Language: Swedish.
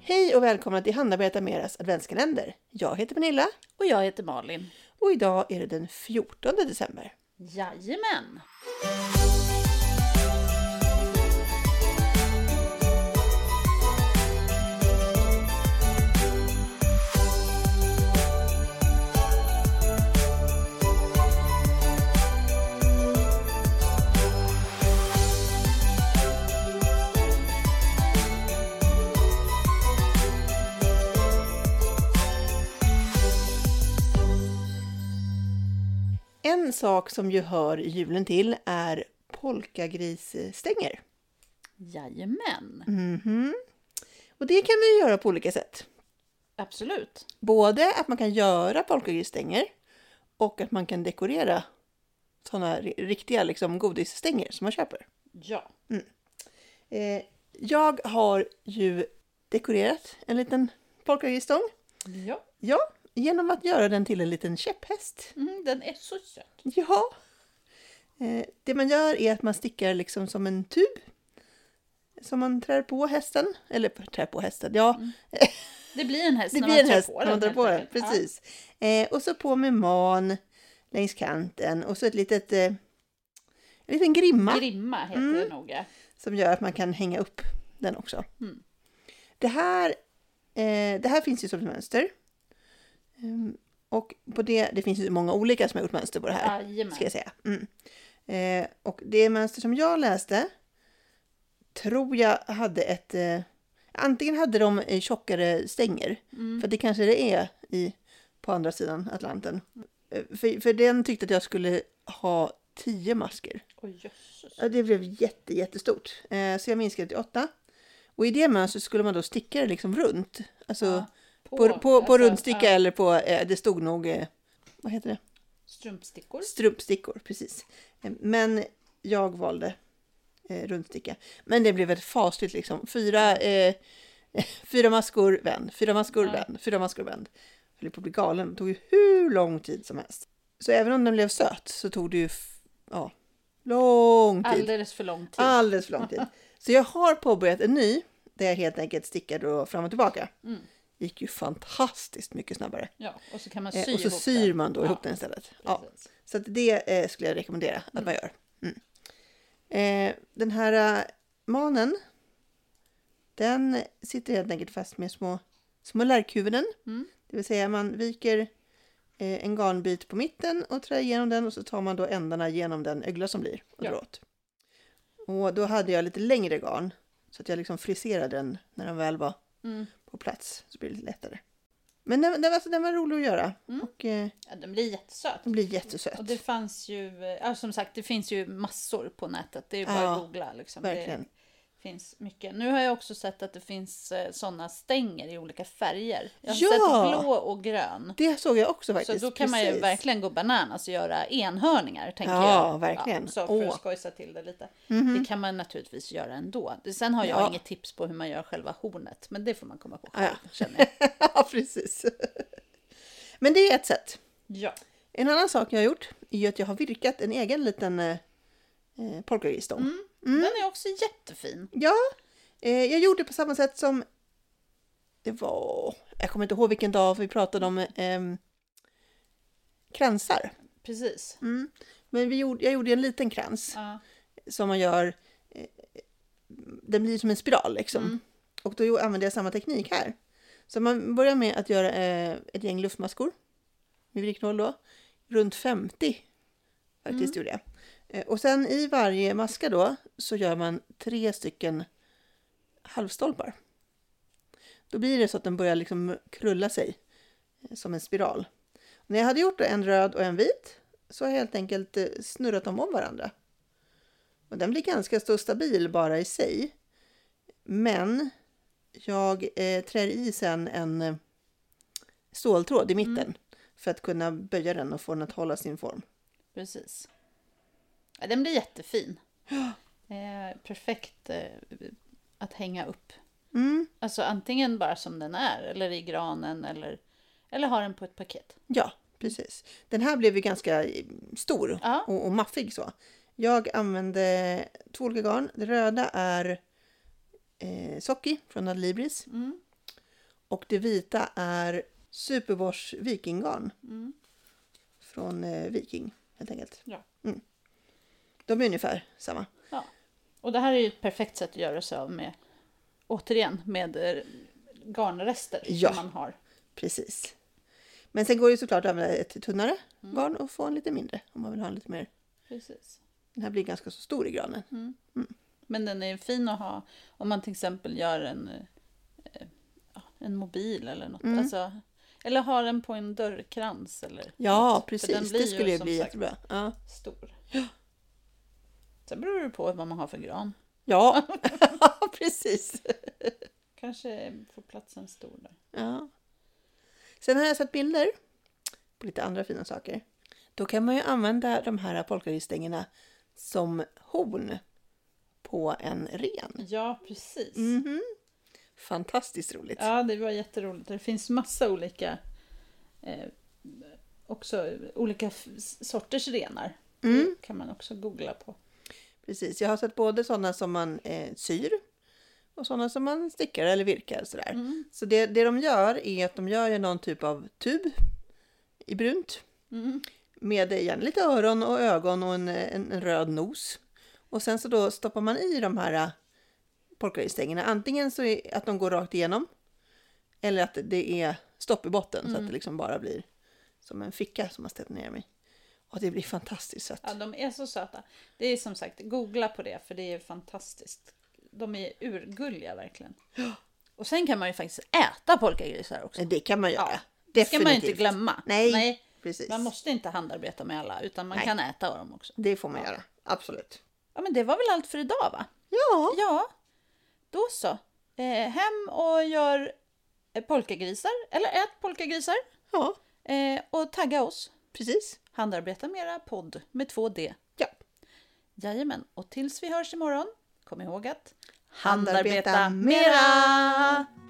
Hej och välkomna till Hanna berättar meras adventskalender. Jag heter Pernilla Och jag heter Malin. och idag är det den 14 december. Jajamän! En sak som ju hör julen till är polkagrisstänger. Jajamän! Mhm. Och det kan man ju göra på olika sätt. Absolut. Både att man kan göra polkagrisstänger och att man kan dekorera sådana riktiga liksom, godisstänger som man köper. Ja. Eh, jag har ju dekorerat en liten polkagrisstång. ja. Ja, genom att göra den till en liten käpphäst. Mm, den är så söt. Ja. Eh, Det man gör är att man stickar liksom som en tub. Som man trär på hästen. Eller trär på hästen, ja. Det blir en häst Det Mm. när blir en man häst drar på när den. man drar helt på den. enkelt. Precis. Eh, Och så på med man längs kanten. Och så ett litet, eh, en liten grimma Ja. Grimma heter Mm. det noga. som gör att man kan hänga upp den också. Mm. Det, här, eh, det här finns ju som ett mönster. Ehm, och på det, det finns ju många olika som har gjort mönster på det här. Jajamän. Ska jag säga. Mm. Eh, och det mönster som jag läste tror jag hade ett... Eh, antingen hade de eh, tjockare stänger, för det kanske det är i, på andra sidan Atlanten. Eh, För, för den tyckte att jag skulle ha tio masker. Oj, jösses. Ja, det blev jätte, jättestort. Eh, så jag minskade till åtta. Och i det mönstret skulle man då sticka det liksom runt. Alltså Ja, på, på, på, alltså, rundsticka ja, eller på, eh, det stod nog, eh, vad heter det? Strumpstickor. Strumpstickor, precis. Eh, Men jag valde eh, rundsticka. Men det blev ett fasligt liksom. Fyra, eh, fyra maskor vänd, fyra maskor Ja. vänd, fyra maskor vänd. Jag höll på att bli galen. Det tog ju hur lång tid som helst. Så även om den blev söt så tog det ju f- ja, lång tid. Alldeles för lång tid. Alldeles för lång tid. Så jag har påbörjat en ny där jag helt enkelt stickar då fram och tillbaka. Mm. Gick ju fantastiskt mycket snabbare. Ja, och så kan man sy Eh, och så ihop syr den. man då Ja, ihop den istället. Ja. precis. Så att det eh, skulle jag rekommendera att man gör. Mm. Eh, den här eh, manen, den sitter helt enkelt fast med små, små lärkhuvuden. Mm. Det vill säga man viker eh, en garnbit på mitten och trär igenom den och så tar man då ändarna genom den ögla som blir och Ja. drar åt. Och då hade jag lite längre garn så att jag liksom friserade den när den väl var Mm. på plats så blir det lite lättare. Men den, den, var- alltså, den var rolig att göra och eh, Ja, den blir jättesöt. den blir jättesöt. Mm. Och det fanns ju, ja, som sagt, det finns ju massor på nätet. Det är ju bara Ja, att googla. Liksom. Verkligen. Det finns mycket. Nu har jag också sett att det finns sådana stänger i olika färger. Jag har Ja! sett blå och grön. Det såg jag också faktiskt. så då kan man ju precis. verkligen gå bananas och göra enhörningar, tänker Ja, jag. verkligen. Ja, så för Åh. Mhm. att skojsa till det lite. Det kan man naturligtvis göra ändå. Sen har jag Ja. Ah, inget tips på hur man gör själva hornet, men det får man komma på Ja, själv, känner jag. ja, precis. Men det är ett sätt. Ja. En annan sak jag har gjort är ju att jag har virkat en egen liten eh, eh, polkagrisstång. Mm. Mm. Den är också jättefin. Ja, eh, jag gjorde på samma sätt som det var, jag kommer inte ihåg vilken dag vi pratade om eh, kransar. Precis. Mm. Men vi gjorde, jag gjorde en liten krans Ja. som man gör, eh, den blir som en spiral liksom. Mm. Och då använder jag samma teknik här. Så man börjar med att göra eh, ett gäng luftmaskor med virknål då. Runt 50 faktiskt gjorde jag. Eh, och sen i varje maska då så gör man tre stycken halvstolpar. Då blir det så att den börjar liksom krulla sig eh, som en spiral. När jag hade gjort då en röd och en vit så har jag helt enkelt eh, snurrat dem om varandra. Och den blir ganska så stabil bara i sig. Men jag eh, trär i sen en eh, ståltråd i mitten för att kunna böja den och få den att hålla sin form. Precis. Ja, den blir jättefin. Eh, perfekt eh, att hänga upp. Mm, Alltså antingen bara som den är, eller i granen, eller, eller ha den på ett paket. ja, precis. Den här blev ju ganska eh, stor Ja. och, och maffig så. Jag använde två olika garn. Det röda är eh, Socky från Adlibris Mm. Och det vita är Superbors vikinggarn. mm. Från eh, Viking, helt enkelt. Ja. Mm. De är ungefär samma. Ja. Och det här är ju ett perfekt sätt att göra sig av med, återigen, med eh, garnrester Ja. som man har. Precis. Men sen går det ju såklart att använda ett tunnare garn och få en lite mindre om man vill ha en lite mer. Precis. Mm. Den här blir ganska så stor i granen. Men den är fin att ha om man till exempel gör en, eh, ja, en mobil eller något. Mm. Alltså, eller har den på en dörrkrans eller Ja, något. För den precis. blir Det skulle ju som bli sagt jättebra. Ja. stor. Sen beror det på vad man har för gran. Ja, precis. Kanske får platsen stor där. Ja. Sen har jag satt bilder på lite andra fina saker. Då kan man ju använda de här polkagrisstängerna som horn på en ren. Mhm. Ja, precis. Fantastiskt roligt. Ja, det var jätteroligt. Det finns massa olika eh, också olika f- sorters renar. Mm. Det kan man också googla på. Precis, jag har sett både sådana som man eh, syr och sådana som man stickar eller virkar. Sådär. Mm. Så det, det de gör är att de gör ju någon typ av tub i brunt. Mm. Med eh, gärna lite öron och ögon och en, eh, en, en röd nos. Och sen så då stoppar man i de här eh, polkagrisstängerna. Antingen så är, att de går rakt igenom. Eller att det är stopp i botten Mm. så att det liksom bara blir som en ficka som man sätter ner dem i. Och det blir fantastiskt sött. Ja, de är så söta. Det är som sagt, googla på det för det är fantastiskt. De är urgulliga verkligen. Och sen kan man ju faktiskt äta polkagrisar också. Det kan man göra. Ja, Det ska Definitivt. man ju inte glömma. Nej, Nej, precis. Man måste inte handarbeta med alla utan man Nej. kan äta av dem också. Det får man göra. Absolut. Ja, men det var väl allt för idag va? Ja, Ja, då så. Eh, hem och gör eh, polkagrisar, eller ät polkagrisar. ja Eh, och tagga oss. precis. Handarbeta med era podd med 2D. Ja. Jajamän, och tills vi hörs imorgon, kom ihåg att Handarbeta mera!